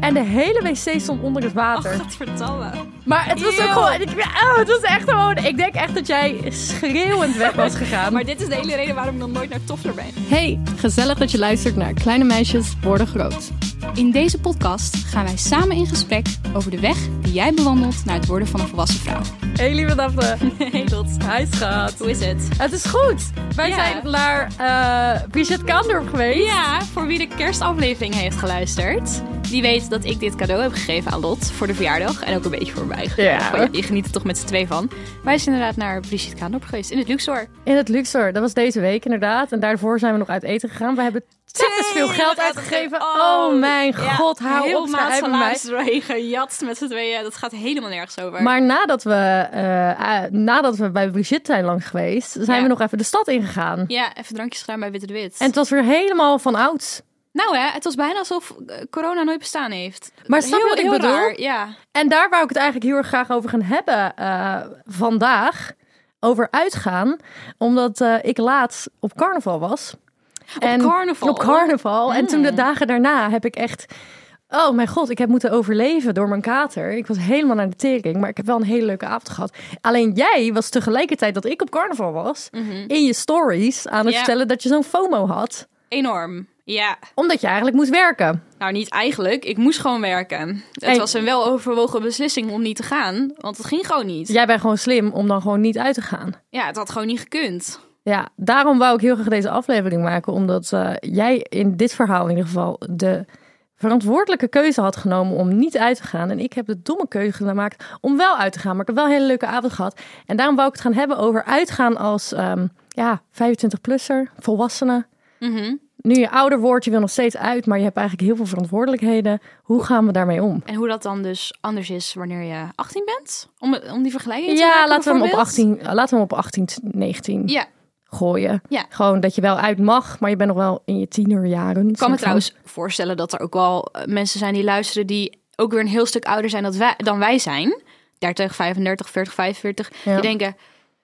En de hele wc stond onder het water. Godverdamme. maar het was ook Oh, eeuw. gewoon... en ik- oh, het was echt gewoon... Ik denk echt dat jij schreeuwend weg was gegaan. Maar dit is de hele reden waarom ik nog nooit naar Toffler ben. Hey, gezellig dat je luistert naar Kleine Meisjes Worden Groot. In deze podcast gaan wij samen in gesprek over de weg die jij bewandelt naar het worden van een volwassen vrouw. hey, lieve Daphne. Hey, Dot. Hij is gehad. Hoe is het? Het is goed. Wij Ja. zijn naar eh Brigitte Kaandorp geweest. Ja, voor wie de kerstaflevering heeft geluisterd, die weet dat ik dit cadeau heb gegeven aan Lot voor de verjaardag. En ook een beetje voor mij. Ja. Maar Je geniet er toch met z'n twee van. Wij zijn inderdaad naar Brigitte Kaandorp geweest in het Luxor. In het Luxor. Dat was deze week inderdaad. En daarvoor zijn we nog uit eten gegaan. We hebben ontzettend veel geld uitgegeven. Oh, mijn god, hou heel op. Heel zij maand hebben mij- salaris doorheen gejatst met z'n tweeën. Dat gaat helemaal nergens over. Maar nadat we, eh, eh, nadat we bij Brigitte zijn lang geweest, zijn Ja. we nog even de stad ingegaan. Ja, even drankjes gedaan bij Witte de Wit. En het was weer helemaal van ouds. Nou hè, het was bijna alsof eh, corona nooit bestaan heeft. Maar snap je wat ik heel bedoel? raar, ja. En daar wou ik het eigenlijk heel erg graag over gaan hebben eh, vandaag. Over uitgaan. Omdat eh, ik laatst op carnaval was. Op carnaval? Hmm. Op carnaval. En toen de dagen daarna heb ik echt... Oh mijn god, ik heb moeten overleven door mijn kater. Ik was helemaal naar de tering, maar ik heb wel een hele leuke avond gehad. Alleen jij was tegelijkertijd dat ik op carnaval was... in je stories aan het Mhm. Ja. vertellen dat je zo'n FOMO had. Enorm. Ja. Omdat je eigenlijk moest werken. Nou, niet eigenlijk. Ik moest gewoon werken. Het En- was een weloverwogen beslissing om niet te gaan, want het ging gewoon niet. Ja, Dus Jij bent gewoon slim om dan gewoon niet uit te gaan. het had gewoon niet gekund. Ja, daarom wou ik heel graag deze aflevering maken. Omdat eh, jij in dit verhaal in ieder geval de verantwoordelijke keuze had genomen om niet uit te gaan. En ik heb de domme keuze gemaakt om wel uit te gaan. Maar ik heb wel een hele leuke avond gehad. En daarom wou ik het gaan hebben over uitgaan als ehm, ja, 25-plusser, volwassene. Mhm. Nu je ouder wordt, je wil nog steeds uit, maar je hebt eigenlijk heel veel verantwoordelijkheden. Hoe gaan we daarmee om? En hoe dat dan dus anders is wanneer je 18 bent? Om, om die vergelijking te Ja, maken laten we, hem op bijvoorbeeld? 18, laten we hem op 18, 19 Ja, gooien. Ja. Gewoon dat je wel uit mag, maar je bent nog wel in je tienerjaren. Ik kan me Soort van- trouwens voorstellen dat er ook wel eh, mensen zijn die luisteren die ook weer een heel stuk ouder zijn dan wij, dan wij zijn. 30, 35, 40, 45. Ja. Die denken,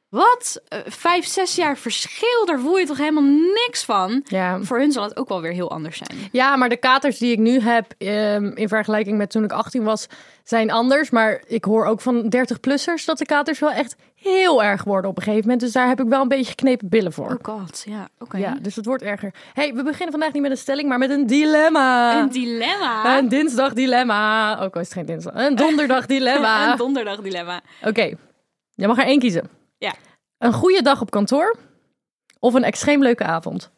wat? Eh, Vijf, zes jaar verschil, daar voel je toch helemaal niks van? Ja. Voor hun zal het ook wel weer heel anders zijn. ja, maar de katers die ik nu heb ehm, in vergelijking met toen ik 18 was, zijn anders. Maar ik hoor ook van 30-plussers dat de katers wel echt heel erg worden op een gegeven moment. Dus daar heb ik wel een beetje geknepen billen voor. Oh god, ja, oké. Ja, dus het wordt erger. hey, we beginnen vandaag niet met een stelling, maar met een dilemma. Een dilemma. Een dinsdag dilemma. Ook al is het geen dinsdag. Een donderdag dilemma. Een donderdag dilemma. Oké, je mag er één kiezen. Ja. Een goede dag op kantoor of een extreem leuke avond?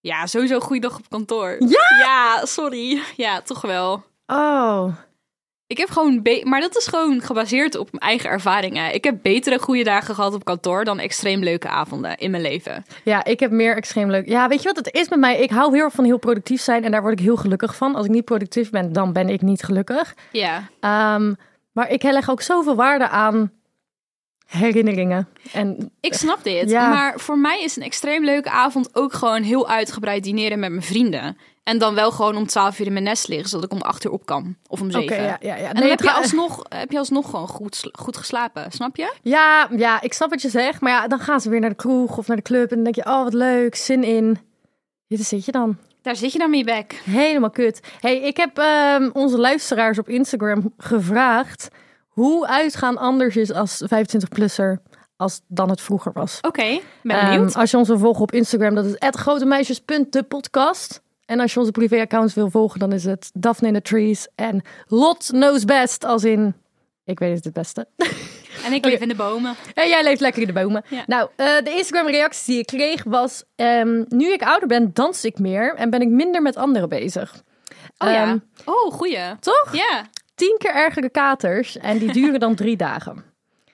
Ja, sowieso goede dag op kantoor. Ja? Ja, sorry. Ja, toch wel. Oh, Ik heb gewoon, be- maar dat is gewoon gebaseerd op mijn eigen ervaringen. Ik heb betere goede dagen gehad op kantoor dan extreem leuke avonden in mijn leven. Ja, ik heb meer extreem leuk. Ja, weet je wat het is met mij? Ik hou heel erg van heel productief zijn en daar word ik heel gelukkig van. Als ik niet productief ben, dan ben ik niet gelukkig. Ja. Ehm, maar ik leg ook zoveel waarde aan herinneringen. En Ik snap dit, Ja. maar voor mij is een extreem leuke avond ook gewoon heel uitgebreid dineren met mijn vrienden. En dan wel gewoon om 12 uur in mijn nest liggen, zodat ik om 8 uur op kan. Of om 7. ja, ja, ja. En dan Nee, heb, je trouw- alsnog, heb je alsnog gewoon goed, sla- goed geslapen, snap je? ja, ja, ik snap wat je zegt. Maar ja, dan gaan ze weer naar de kroeg of naar de club en dan denk je, oh wat leuk, zin in. Dit zit je dan. Daar zit je dan mee back. Helemaal kut. hey, ik heb ehm, onze luisteraars op Instagram gevraagd hoe uitgaan anders is als 25-plusser als dan het vroeger was. Oké, ben benieuwd. Ehm, als je ons wil volgen op Instagram, dat is @grotemeisjes.depodcast. En als je onze privéaccounts wil volgen, dan is het Daphne in the Trees en Lot knows best, als in ik weet het het beste. en ik leef in de bomen. En jij leeft lekker in de bomen. Ja. Nou, eh, de Instagram-reactie die ik kreeg was: ehm, nu ik ouder ben, dans ik meer en ben ik minder met anderen bezig. Oh Ehm, ja. Oh, goeie. Toch? Ja, Tien keer ergere katers en die duren dan drie dagen.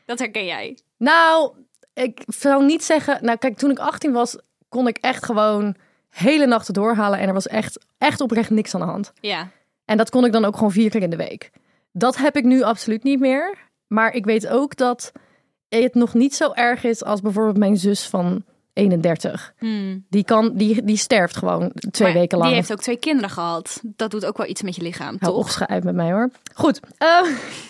dat herken jij. Nou, ik zou niet zeggen. Nou, kijk, toen ik 18 was, kon ik echt gewoon hele nachten doorhalen en er was echt, echt oprecht niks aan de hand. Ja. En dat kon ik dan ook gewoon vier keer in de week. Dat heb ik nu absoluut niet meer. Maar ik weet ook dat het nog niet zo erg is als bijvoorbeeld mijn zus van 31. Hmm. Die, kan, die, die sterft gewoon twee Maar weken lang. Die heeft ook twee kinderen gehad. Dat doet ook wel iets met je lichaam, Hou toch? opscha- uit met mij hoor. Goed. eh,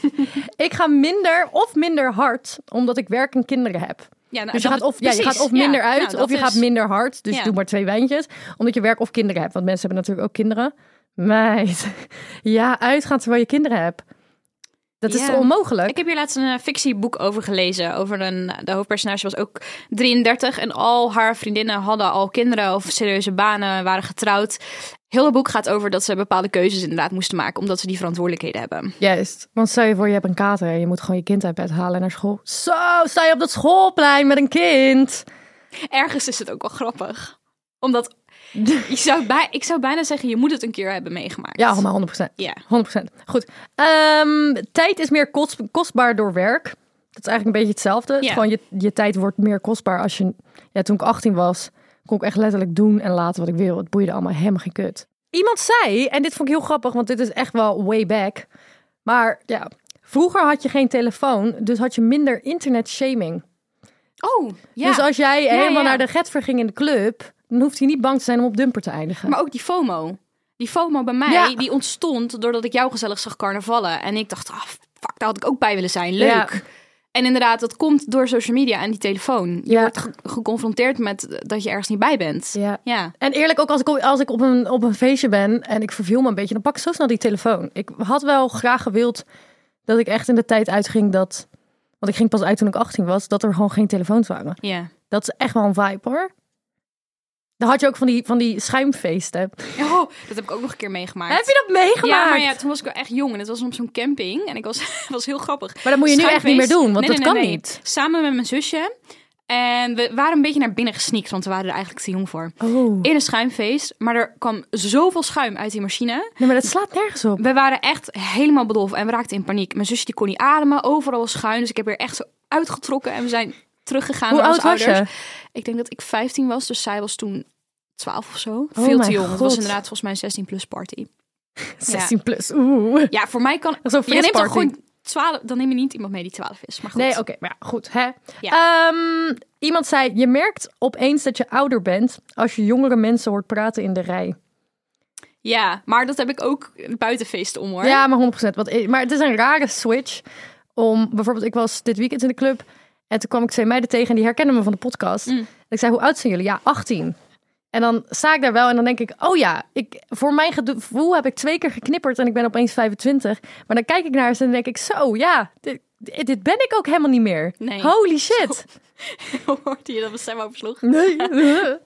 ik ga minder of minder hard, omdat ik werk en kinderen heb. Ja, nou, Dus je dat- gaat, of, ja, je precies, gaat of ja. minder Nou, uit, dat of je is- gaat minder hard. Dus Ja. doe maar twee wijntjes. Omdat je werk of kinderen hebt. Want mensen hebben natuurlijk ook kinderen. Meid, ja, uitgaan terwijl je kinderen hebt. Dat is Ja. toch onmogelijk? Ik heb hier laatst een eh, fictieboek over gelezen. Over een, eh, de hoofdpersonage was ook 33 en al haar vriendinnen hadden al kinderen of serieuze banen, waren getrouwd. Heel het boek gaat over dat ze bepaalde keuzes inderdaad moesten maken, omdat ze die verantwoordelijkheden hebben. Juist. Want stel je voor, je hebt een kater en je moet gewoon je kind uit bed halen en naar school. Zo, sta je op dat schoolplein met een kind. Ergens is het ook wel grappig. Omdat, je zou bij, ik zou bijna zeggen, je moet het een keer hebben meegemaakt. Ja, allemaal 100%. Ja. 100%. Goed. Ehm, tijd is meer kost, kostbaar door werk. Dat is eigenlijk een beetje hetzelfde. Het is Ja. Gewoon je, je tijd wordt meer kostbaar als je. Ja, toen ik 18 was, kon ik echt letterlijk doen en laten wat ik wil. Het boeide allemaal helemaal geen kut. Iemand zei, en dit vond ik heel grappig, want dit is echt wel way back. Maar ja, vroeger had je geen telefoon, dus had je minder internet shaming. Oh, ja. Dus als jij helemaal ja. naar de getver ging in de club, dan hoeft hij niet bang te zijn om op dumper te eindigen. Maar ook die FOMO. Die FOMO bij mij, Ja. die ontstond doordat ik jou gezellig zag carnavallen. En ik dacht, ah, fuck, daar had ik ook bij willen zijn. Leuk. Ja. En inderdaad, dat komt door social media en die telefoon. Je Ja. wordt ge- geconfronteerd met dat je ergens niet bij bent. Ja. Ja. En eerlijk, ook als ik, als ik op, een, op een feestje ben en ik verveel me een beetje, dan pak ik zo snel die telefoon. Ik had wel graag gewild dat ik echt in de tijd uitging dat. Want ik ging pas uit toen ik 18 was, dat er gewoon geen telefoons waren. Ja. Dat is echt wel een vibe hoor. Dan had je ook van die, van die schuimfeesten. Oh, dat heb ik ook nog een keer meegemaakt. Heb je dat meegemaakt? ja, maar ja, toen was ik wel echt jong en het was op zo'n camping. En ik was, was heel grappig. Maar dat moet je nu echt niet meer doen, want Nee, dat nee, kan nee, nee. niet. Samen met mijn zusje. En we waren een beetje naar binnen gesneakt, want we waren er eigenlijk te jong voor. Oh, in een schuimfeest. Maar er kwam zoveel schuim uit die machine. nee, maar dat slaat nergens op. We waren echt helemaal bedolven en we raakten in paniek. Mijn zusje die kon niet ademen, overal was schuim. Dus ik heb er echt zo uitgetrokken en we zijn teruggegaan Hoe naar oud onze was ouders. je? Ik denk dat ik 15 was, dus zij was toen 12 of zo. Oh Veel te mijn jong. Het was God. inderdaad volgens mij een 16 plus party. 16 plus. Oeh. Ja, voor mij kan... Zo'n Je neemt toch frisparty. gewoon 12... Dan neem je niet iemand mee die 12 is. Maar goed. Nee, oké, maar ja, goed. Hè? Ja. Ehm, iemand zei, je merkt opeens dat je ouder bent als je jongere mensen hoort praten in de rij. Ja, maar dat heb ik ook buiten feesten om hoor. Ja, maar 100%. Want, ik- maar het is een rare switch om, bijvoorbeeld, ik was dit weekend in de club en toen kwam ik twee meiden tegen en die herkenden me van de podcast. Mm. En ik zei, hoe oud zijn jullie? Ja, 18. En dan sta ik daar wel en dan denk ik, oh ja, ik, voor mijn gevoel heb ik twee keer geknipperd en ik ben opeens 25. Maar dan kijk ik naar ze en dan denk ik, zo ja, dit, dit ben ik ook helemaal niet meer. Nee. Holy shit. Hoorde je dat mijn stem oversloeg? Nee.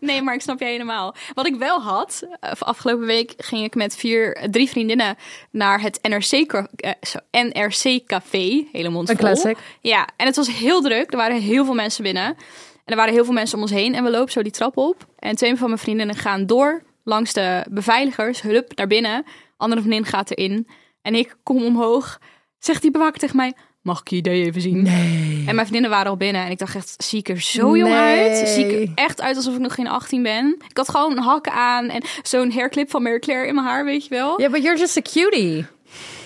Nee, maar ik snap je helemaal. Wat ik wel had, eh, afgelopen week ging ik met vier, eh, drie vriendinnen naar het NRC, ka- eh, zo, NRC Café. Hele mond Een vol. classic. Ja, en het was heel druk. Er waren heel veel mensen binnen. En er waren heel veel mensen om ons heen. En we lopen zo die trap op. En twee van mijn vriendinnen gaan door langs de beveiligers, hulp, naar binnen. Andere vriendin gaat erin. En ik kom omhoog. Zegt die bewaker tegen mij, mag ik je idee even zien? En mijn vriendinnen waren al binnen. En ik dacht echt, zie ik er zo jong Nee. uit? Zie ik er echt uit alsof ik nog geen 18 ben? Ik had gewoon hakken aan en zo'n hairclip van Mary Claire in mijn haar, weet je wel? Ja, but you're just a cutie.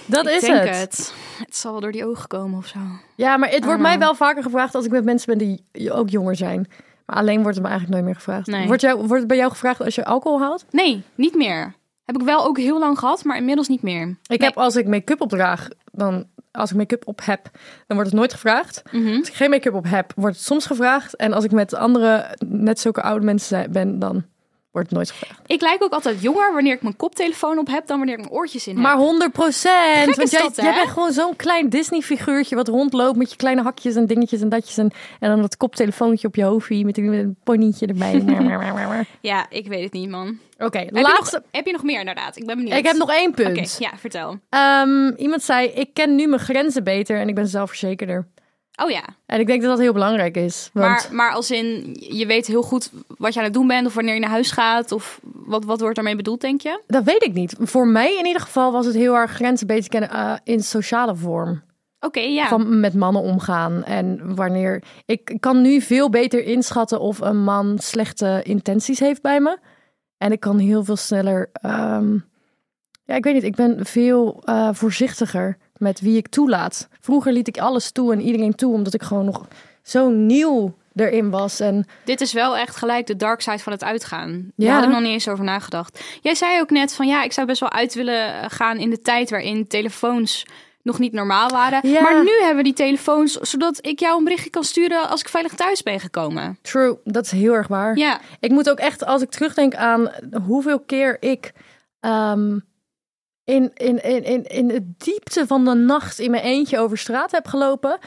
Dat ik is denk het. het. het. zal wel door die ogen komen of zo. Ja, maar het wordt Ah. mij wel vaker gevraagd als ik met mensen ben die ook jonger zijn. Maar alleen wordt het me eigenlijk nooit meer gevraagd. Nee. Wordt, jou, wordt het bij jou gevraagd als je alcohol haalt? Nee, niet meer. Heb ik wel ook heel lang gehad, maar inmiddels niet meer. Ik heb als ik make-up opdraag, dan als ik make-up op heb, dan wordt het nooit gevraagd. Mhm. Als ik geen make-up op heb, wordt het soms gevraagd. En als ik met andere net zulke oude mensen zijn- ben, dan wordt het nooit gevraagd. Ik lijk ook altijd jonger wanneer ik mijn koptelefoon op heb dan wanneer ik mijn oortjes in heb. Maar 100 procent. Want is jij, dat, hè? jij bent gewoon zo'n klein Disney-figuurtje wat rondloopt met je kleine hakjes en dingetjes en datjes. En, en dan dat koptelefoontje op je hoofdje met een- met een ponytje erbij. Oké, Ja, ik weet het niet, man. Heb, je laatste. nog, heb je nog meer inderdaad? Ik ben benieuwd. Ik heb nog één punt. Oké, ja, vertel. Ehm, iemand zei, ik ken nu mijn grenzen beter en ik ben zelfverzekerder. Oh ja, En ik denk dat dat heel belangrijk is. Want... maar, maar als in, je weet heel goed wat je aan het doen bent of wanneer je naar huis gaat of wat, wat wordt daarmee bedoeld, denk je? Dat weet ik niet. Voor mij in ieder geval was het heel erg grenzen beter kennen eh, in sociale vorm. Oké, ja. Van met mannen omgaan. En wanneer. Ik kan nu veel beter inschatten of een man slechte intenties heeft bij me. En ik kan heel veel sneller. ehm, ja, ik weet niet. Ik ben veel eh, voorzichtiger met wie ik toelaat. Vroeger liet ik alles toe en iedereen toe, omdat ik gewoon nog zo nieuw erin was. En Dit is wel echt gelijk de dark side van het uitgaan. Ja. Daar had ik nog niet eens over nagedacht. Jij zei ook net van ja, ik zou best wel uit willen gaan in de tijd waarin telefoons nog niet normaal waren. Ja. Maar nu hebben we die telefoons, zodat ik jou een berichtje kan sturen als ik veilig thuis ben gekomen. true, dat is heel erg waar. Ja, Ik moet ook echt, als ik terugdenk aan hoeveel keer ik ehm, in, in, in, in, in de diepte van de nacht in mijn eentje over straat heb gelopen.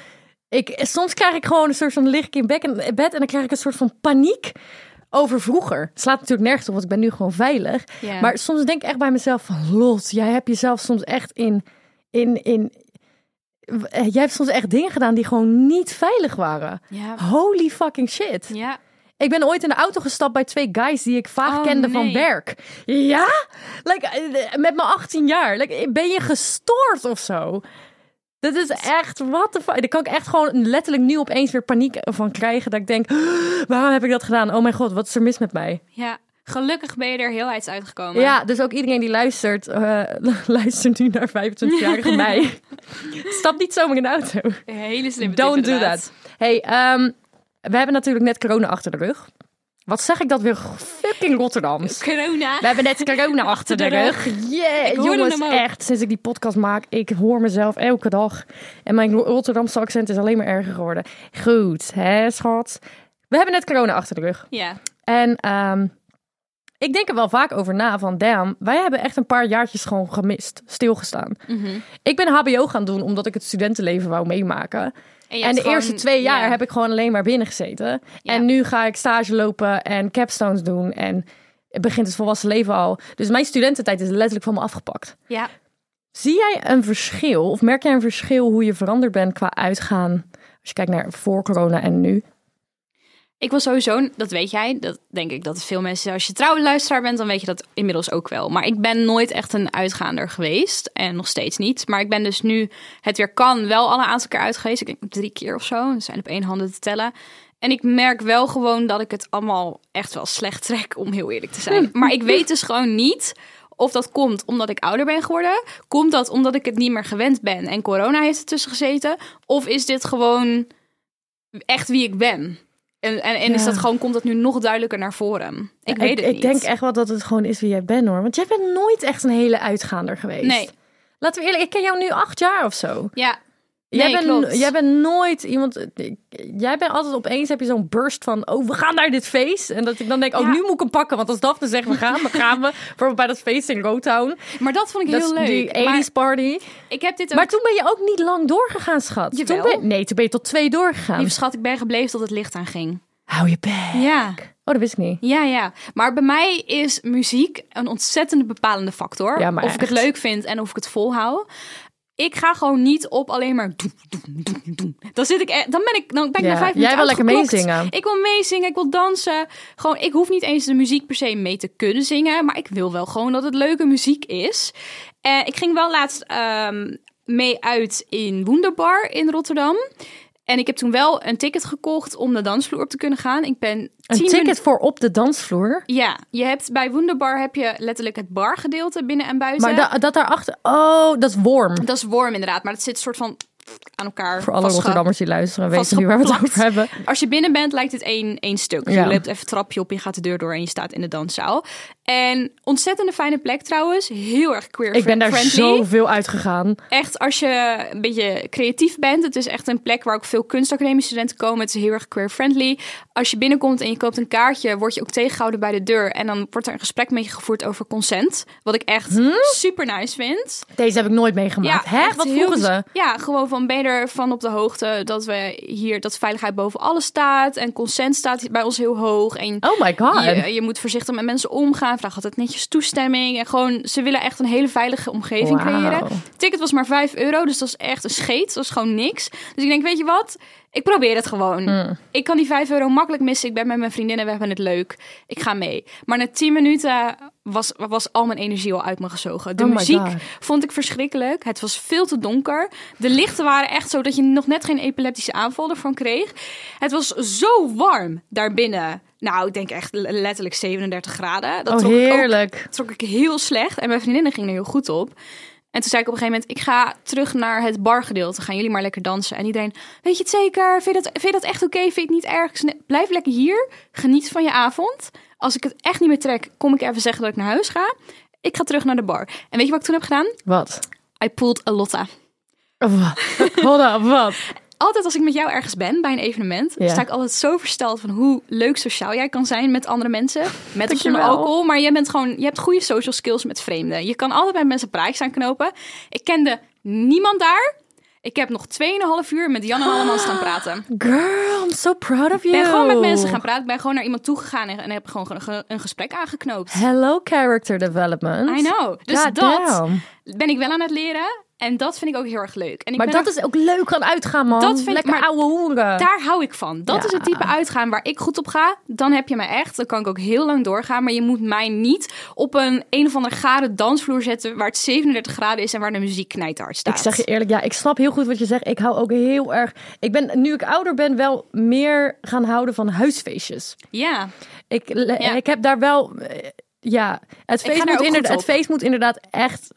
Ik, soms krijg ik gewoon een soort van, lig ik in bek- in bed en dan krijg ik een soort van paniek over vroeger. Het slaat natuurlijk nergens op, want ik ben nu gewoon veilig. ja. Maar soms denk ik echt bij mezelf van, Lot, jij hebt jezelf soms echt in, in, in... eh, Jij hebt soms echt dingen gedaan die gewoon niet veilig waren. ja. Holy fucking shit. ja. Ik ben ooit in de auto gestapt bij twee guys die ik vaag Oh, kende van nee. werk. Ja? Like, eh, met mijn 18 jaar. Like, eh, ben je gestoord of zo? Dat is echt, what the fuck. Daar kan ik echt gewoon letterlijk nu opeens weer paniek van krijgen. Dat ik denk, "Oh, waarom heb ik dat gedaan? Oh mijn god, wat is er mis met mij? ja. Gelukkig ben je er heel uit uitgekomen. Ja, dus ook iedereen die luistert, eh luistert nu naar 25-jarige mij. Stap niet zomaar in de auto. Een Hele slimme tip Don't do inderdaad. that. Hey, ehm, we hebben natuurlijk net corona achter de rug. Wat zeg ik dat weer fucking Rotterdams? Corona. We hebben net corona achter de rug. Yeah, Ik hoorde jongens, hem ook. echt. Sinds ik die podcast maak, ik hoor mezelf elke dag. En mijn Ro- Rotterdamse accent is alleen maar erger geworden. Goed, hè schat? We hebben net corona achter de rug. Ja. En ehm, ik denk er wel vaak over na van... damn, wij hebben echt een paar jaartjes gewoon gemist. Stilgestaan. Mhm. Ik ben hbo gaan doen omdat ik het studentenleven wou meemaken. je en hebt de gewoon- eerste twee jaar ja. heb ik gewoon alleen maar binnen gezeten. Ja. En nu ga ik stage lopen en capstones doen. En het begint het volwassen leven al. Dus mijn studententijd is letterlijk van me afgepakt. Ja. Zie jij een verschil? Of merk jij een verschil hoe je veranderd bent qua uitgaan? Als je kijkt naar voor corona en nu. Ik was sowieso, een- dat weet jij, dat denk ik dat veel mensen, als je trouwe luisteraar bent, dan weet je dat inmiddels ook wel. Maar ik ben nooit echt een uitgaander geweest en nog steeds niet. Maar ik ben dus nu het weer kan wel al een aantal keer uit geweest. Ik denk drie keer of zo, dat zijn op één hand te tellen. En ik merk wel gewoon dat ik het allemaal echt wel slecht trek, om heel eerlijk te zijn. Maar ik weet dus gewoon niet of dat komt omdat ik ouder ben geworden. Komt dat omdat ik het niet meer gewend ben en corona heeft ertussen gezeten? Of is dit gewoon echt wie ik ben? En, en, en is Ja. dat gewoon, komt dat nu nog duidelijker naar voren? Ik Ja, weet het ik niet. denk echt wel dat het gewoon is wie jij bent hoor. Want jij bent nooit echt een hele uitgaander geweest. Nee. Laten we eerlijk, ik ken jou nu acht jaar of zo. Ja, jij, Nee, bent, klopt. jij bent nooit iemand. ik- Jij bent altijd opeens heb je zo'n burst van. Oh, we gaan naar dit feest. En dat ik dan denk, oh, Ja. nu moet ik hem pakken. Want als Daphne zegt we gaan, dan gaan we. Bijvoorbeeld bij dat feest in Rotown. maar dat vond ik Dat is heel leuk. die 80s Maar party. ik heb dit ook... Maar toen ben je ook niet lang doorgegaan, schat. Toen Jawel. ben, nee, toen ben je tot twee doorgegaan. Lieve schat, ik ben gebleven tot het licht aan ging. Hou je bek. Ja. Oh, dat wist ik niet. Ja, ja. Maar bij mij is muziek een ontzettende bepalende factor. Ja, maar of ik het echt. leuk vind en of ik het volhou. Ik ga gewoon niet op alleen maar doen, doen, doen, doen. Dan zit ik, e- dan ben ik, dan ben ik Ja, na vijf jij minuten wil lekker uitgeklokt. meezingen. Ik wil meezingen, ik wil dansen. Gewoon, ik hoef niet eens de muziek per se mee te kunnen zingen, maar ik wil wel gewoon dat het leuke muziek is. En ik ging wel laatst ehm, mee uit in Wonderbar in Rotterdam. En ik heb toen wel een ticket gekocht om de dansvloer op te kunnen gaan. Ik ben Een tien minuten- ticket voor op de dansvloer. ja, je hebt bij Wonderbar heb je letterlijk het bargedeelte binnen en buiten. Maar da- dat daarachter. Oh, dat is warm. dat is warm inderdaad, maar dat zit soort van aan elkaar Voor alle vastge- Rotterdammers die luisteren, weten nu waar we het vastgeplakt. over hebben. Als je binnen bent, lijkt het één, één stuk. Dus Ja. Je loopt even het trapje op, je gaat de deur door en je staat in de danszaal. En ontzettende fijne plek trouwens. Heel erg queer Ik ben daar friendly. zoveel uitgegaan. Echt, als je een beetje creatief bent. Het is echt een plek waar ook veel kunstacademie studenten komen. Het is heel erg queer friendly. Als je binnenkomt en je koopt een kaartje, word je ook tegengehouden bij de deur. En dan wordt er een gesprek met je gevoerd over consent. Wat ik echt super nice vind. Deze heb ik nooit meegemaakt. Hè? echt Hm? Wat heel vroegen bes- ze? Ja, gewoon van ben je ervan op de hoogte dat we hier dat veiligheid boven alles staat. En consent staat bij ons heel hoog. En Oh my god. je, je moet voorzichtig met mensen omgaan. Vraag altijd netjes toestemming. En gewoon, ze willen echt een hele veilige omgeving Wauw. creëren. Ticket was maar 5 euro, dus dat is echt een scheet. Dat is gewoon niks. Dus ik denk, weet je wat? Ik probeer het gewoon. Hmm. Ik kan die 5 euro makkelijk missen. Ik ben met mijn vriendinnen, we hebben het leuk. Ik ga mee. Maar na 10 minuten was, was al mijn energie al uit me gezogen. De Oh my muziek God. vond ik verschrikkelijk. Het was veel te donker. De lichten waren echt zo dat je nog net geen epileptische aanval ervan kreeg. Het was zo warm daarbinnen. Nou, ik denk echt le- letterlijk 37 graden. Dat oh, trok ik ook heerlijk. trok ik heel slecht. En mijn vriendinnen gingen er heel goed op. En toen zei ik op een gegeven moment, ik ga terug naar het bargedeelte. Gaan jullie maar lekker dansen. En iedereen, weet je het zeker? Vind je dat, vind je dat echt oké? Vind je het niet erg? Ik zei, "Nee, Blijf lekker hier. Geniet van je avond. Als ik het echt niet meer trek, kom ik even zeggen dat ik naar huis ga. Ik ga terug naar de bar. En weet je wat ik toen heb gedaan? Wat? I pulled a Lotta. Oh, Hold up, wat? Altijd als ik met jou ergens ben, bij een evenement, Ja. sta ik altijd zo versteld van hoe leuk sociaal jij kan zijn met andere mensen. Met of zonder Dankjewel. alcohol. Maar jij bent gewoon, je hebt goede social skills met vreemden. Je kan altijd bij mensen praatjes aanknopen. Ik kende niemand daar. Ik heb nog 2,5 uur met Jan en Alleman staan praten. Girl, I'm so proud of Ik you. ben gewoon met mensen gaan praten. Ik ben gewoon naar iemand toegegaan en, en heb gewoon ge- ge- een gesprek aangeknoopt. Hello character development. I know. Dus God dat damn. ben ik wel aan het leren. En dat vind ik ook heel erg leuk. En ik Maar ben dat er- is ook leuk aan uitgaan, man. Dat vind ik- Lekker maar ouwe hoeren. Daar hou ik van. Dat Ja. is het type uitgaan waar ik goed op ga. Dan heb je mij echt. Dan kan ik ook heel lang doorgaan. Maar je moet mij niet op een een of andere gare dansvloer zetten... waar het 37 graden is en waar de muziek knijterhard staat. Ik zeg je eerlijk, ja, ik snap heel goed wat je zegt. Ik hou ook heel erg. Ik ben, nu ik ouder ben, wel meer gaan houden van huisfeestjes. Ja, Ik, le- ik heb daar wel. eh, Ja, het Ik ga feest, daar moet ook inderdaad, goed het op. feest moet inderdaad echt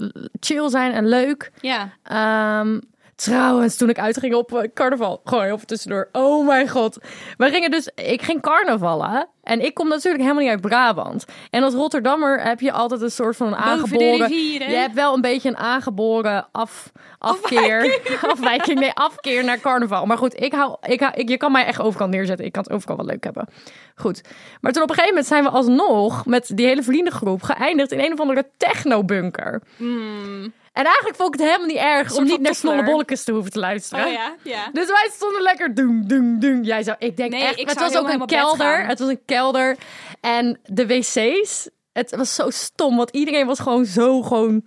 chill zijn en leuk. ja. Ehm, trouwens, toen ik uitging op eh, carnaval, gewoon heel even tussendoor. Oh mijn god. We gingen dus, ik ging carnavallen. En ik kom natuurlijk helemaal niet uit Brabant. En als Rotterdammer heb je altijd een soort van een de aangeboren. rivieren. Je hebt wel een beetje een aangeboren af, afkeer. Afwijking. nee, afkeer naar carnaval. Maar goed, ik hou, ik hou, ik, je kan mij echt overkant neerzetten. Ik kan het overkant wel leuk hebben. Goed. Maar toen op een gegeven moment zijn we alsnog met die hele vriendengroep geëindigd in een of andere technobunker. En eigenlijk vond ik het helemaal niet erg om Hmm. soort niet van naar toffler. Snolle Bollekes te hoeven te luisteren. Oh ja, ja. Dus wij stonden lekker doem, doem, doem. Jij zou, ik denk Nee, echt, ik maar het zou was ook een helemaal naar bed kelder. gaan. Het was een kelder. En de wc's, het was zo stom, want iedereen was gewoon zo gewoon...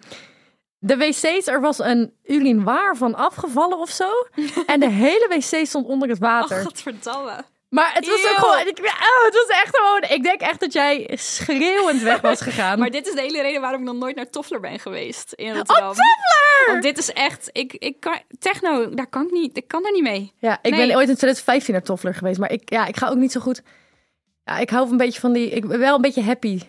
De wc's, er was een urinoir van afgevallen of zo. en de hele wc stond onder het water. Oh, Godverdamme. maar het was ook eeuw. gewoon... Ik, oh, het was echt gewoon... Ik denk echt dat jij schreeuwend weg was gegaan. Maar dit is de hele reden waarom ik nog nooit naar Toffler ben geweest in Rotterdam. Want dit is echt... Ik, ik kan, techno, daar kan ik niet... Ik kan daar niet mee. Ja, ik Nee. ben ooit in 2015 naar Toffler geweest, maar ik, ja, ik ga ook niet zo goed. Ja, ik hou een beetje van die. Ik ben wel een beetje happy.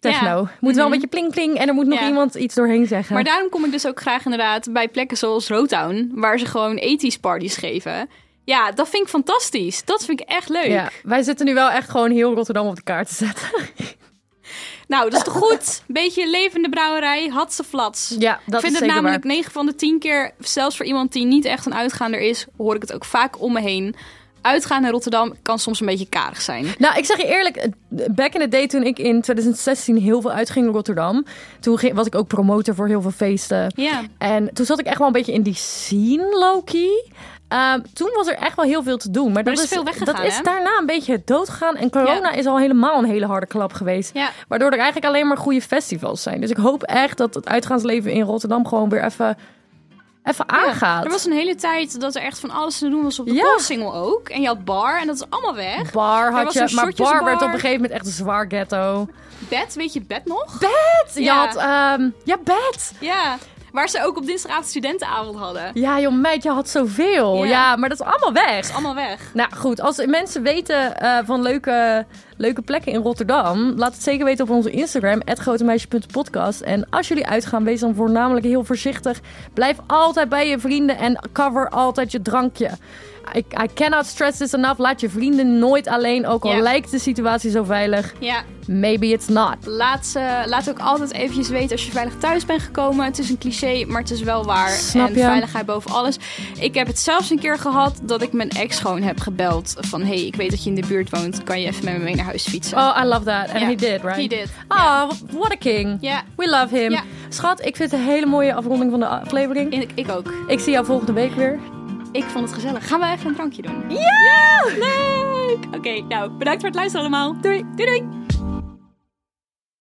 Techno. Ja. Mhm. Moet wel een beetje pling pling en er moet nog Ja. iemand iets doorheen zeggen. Maar daarom kom ik dus ook graag inderdaad bij plekken zoals Rotown, waar ze gewoon ethisch parties geven. Ja, dat vind ik fantastisch. Dat vind ik echt leuk. ja, wij zitten nu wel echt gewoon heel Rotterdam op de kaart te zetten. Nou, dat is toch goed? Beetje levende brouwerij, hatseflats. ja, dat ik is vind het zeker namelijk waar. 9 van de 10 keer, zelfs voor iemand die niet echt een uitgaander is, hoor ik het ook vaak om me heen. Uitgaan naar Rotterdam kan soms een beetje karig zijn. Nou, ik zeg je eerlijk, eh, back in the day toen ik in 2016 heel veel uitging in Rotterdam, toen ging- was ik ook promotor voor heel veel feesten. Ja. En toen zat ik echt wel een beetje in die scene, Loki. Ehm, toen was er echt wel heel veel te doen. Maar, dat is veel weggegaan, Dat is hè? daarna een beetje doodgegaan. En corona is al helemaal een hele harde klap geweest. Ja. Waardoor er eigenlijk alleen maar goede festivals zijn. Dus ik hoop echt dat het uitgaansleven in Rotterdam gewoon weer even, even aangaat. Er was een hele tijd dat er echt van alles te doen was op de Ja. Poolsingel ook. En je had bar en dat is allemaal weg. Bar had was je, een maar bar, shotjesbar. werd op een gegeven moment echt een zwaar ghetto. Bed, weet je het bed nog? Bed! Je Ja. had, ehm, ja, bed! Ja, waar ze ook op dinsdagavond studentenavond hadden. Ja, joh, meid, je had zoveel. Ja. Ja, maar dat is allemaal weg. Allemaal weg. Nou goed, als mensen weten eh, van leuke, leuke plekken in Rotterdam, laat het zeker weten op onze Instagram, grotemeisje.podcast. En als jullie uitgaan, wees dan voornamelijk heel voorzichtig. Blijf altijd bij je vrienden en cover altijd je drankje. I, I cannot stress this enough. Laat je vrienden nooit alleen, ook al Ja. lijkt de situatie zo veilig. Ja, Maybe it's not. laat, ze, laat ook altijd eventjes weten als je veilig thuis bent gekomen. Het is een cliché, maar het is wel waar. Snap en je. veiligheid boven alles. Ik heb het zelfs een keer gehad dat ik mijn ex gewoon heb gebeld. Van, hey, ik weet dat je in de buurt woont. Kan je even met me mee naar huis fietsen? Oh, I love that. And Ja, he did, right? he did. Oh, what a king. Ja. We love him. Ja. Schat, ik vind het een hele mooie afronding van de aflevering. Ik, ik ook. Ik zie jou volgende week weer. Ik vond het gezellig. Gaan we even een drankje doen? Ja! Leuk! Oké, nou, bedankt voor het luisteren allemaal. Doei! Doei doei!